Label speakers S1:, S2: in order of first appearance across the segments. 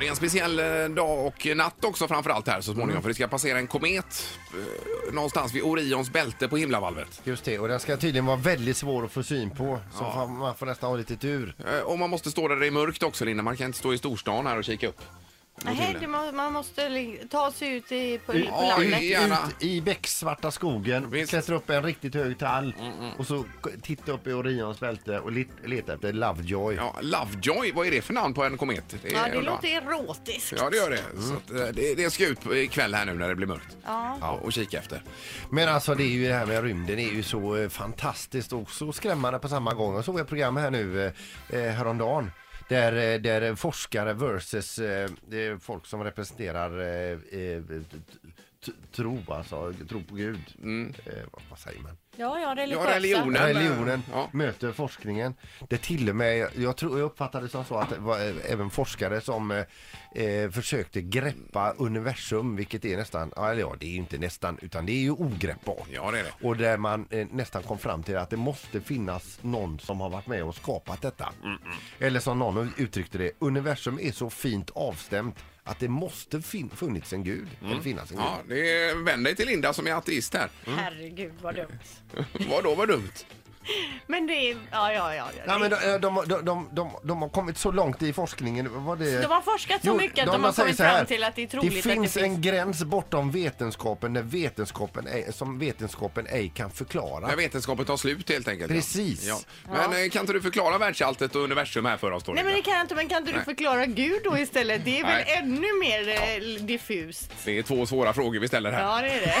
S1: det är en speciell eh, dag och natt också framförallt här så småningom. För det ska passera en komet eh, någonstans vid Orions bälte på himlavalvet.
S2: Just det, och den ska tydligen vara väldigt svår att få syn på. Så fan, man får nästan ha lite tur.
S1: Eh, Och man måste stå där det är mörkt också Linda. Man kan inte stå i storstan här och kika upp. mot
S3: Nej,
S1: himlen.
S3: det må, man måste li- ta sig ut i, på, på
S1: Ja,
S3: landet.
S1: i- Gärna.
S2: Ut i becksvarta skogen,
S1: Visst. Mm,
S2: klättra upp en riktigt hög tall och så k- titta upp i Orions bälte och lit- leta efter Lovejoy.
S1: Ja, Lovejoy, vad är det för namn på en komet? Det är-
S3: Ja, det låter erotiskt.
S1: Ja, det gör det. Så att, eh, det, det ska ut ikväll här nu när det blir mörkt.
S3: Ja.
S1: Och, och kika efter.
S2: Men alltså det är ju det här med rymden är ju så eh, fantastiskt och så skrämmande på samma gång. Jag såg ett program här nu eh, eh, häromdagen där, eh, där forskare versus eh, det är folk som representerar eh, eh, t- t- tro, alltså tro på Gud.
S1: Mm.
S2: Eh, vad, vad säger man?
S3: Ja, ja, religiösa.
S1: Ja, religion. Men,
S2: Religionen
S1: eh, ja.
S2: möter forskningen. Det till och med, jag, tror, jag uppfattade det som så att det var eh, även forskare som eh, eh, försökte greppa universum, vilket är nästan, ja, eller ja det är ju inte nästan, utan det är ju ogreppbart.
S1: Ja, det är det.
S2: Och där man eh, nästan kom fram till att det måste finnas någon som har varit med och skapat detta. Eller som någon uttryckte det, universum är så fint avstämt att det måste fin- funnits en gud. Eller finnas en gud.
S1: Mm. Ja, det är, vänd dig till Linda som är ateist här.
S3: Herregud, vad dumt.
S1: Vadå vad dumt?
S3: Men det är... Ja, ja, ja. ja.
S2: Nej, men
S3: det-
S2: de, de, de, de, de, de har kommit så långt i forskningen. Var det...
S3: De har forskat så mycket att de har
S2: säger
S3: kommit
S2: så här,
S3: fram till att det är troligt att det
S2: finns
S3: finns-
S2: en gräns bortom vetenskapen, när vetenskapen ej, som vetenskapen ej kan förklara.
S1: När vetenskapen tar slut helt enkelt.
S2: Precis.
S1: Ja. Men eh, kan inte du förklara världsalltet och universum här för oss då?
S3: Nej, men
S1: Linda?
S3: det kan jag inte. Men kan inte du
S1: Nej.
S3: förklara Gud då istället? Det är väl
S1: Nej.
S3: ännu mer eh, diffust.
S1: Det är två svåra frågor vi ställer här.
S3: Ja, det är det.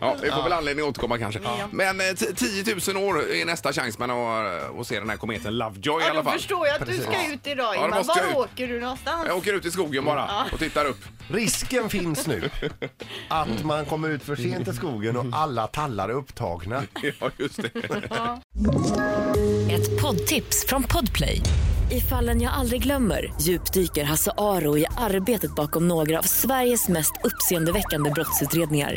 S1: Ja, vi får väl anledning att återkomma kanske.
S3: Ja.
S1: Men eh, t- 10 000 år är nästa chans man har att se den här kometen Lovejoy i
S3: Ja,
S1: alla
S3: då
S1: fall.
S3: förstår jag att du
S2: Precis.
S3: ska ut idag,
S1: Ja, då
S3: Ingmar.
S1: måste jag
S3: Var
S1: ut.
S3: åker du någonstans?
S1: Jag åker ut i skogen bara och tittar upp.
S2: Risken finns nu att man kommer ut för sent i skogen och alla tallar är upptagna.
S1: Ja, just det.
S4: Ett poddtips från Podplay. I fallen jag aldrig glömmer djupdyker Hasse Aro i arbetet bakom några av Sveriges mest uppseendeväckande brottsutredningar.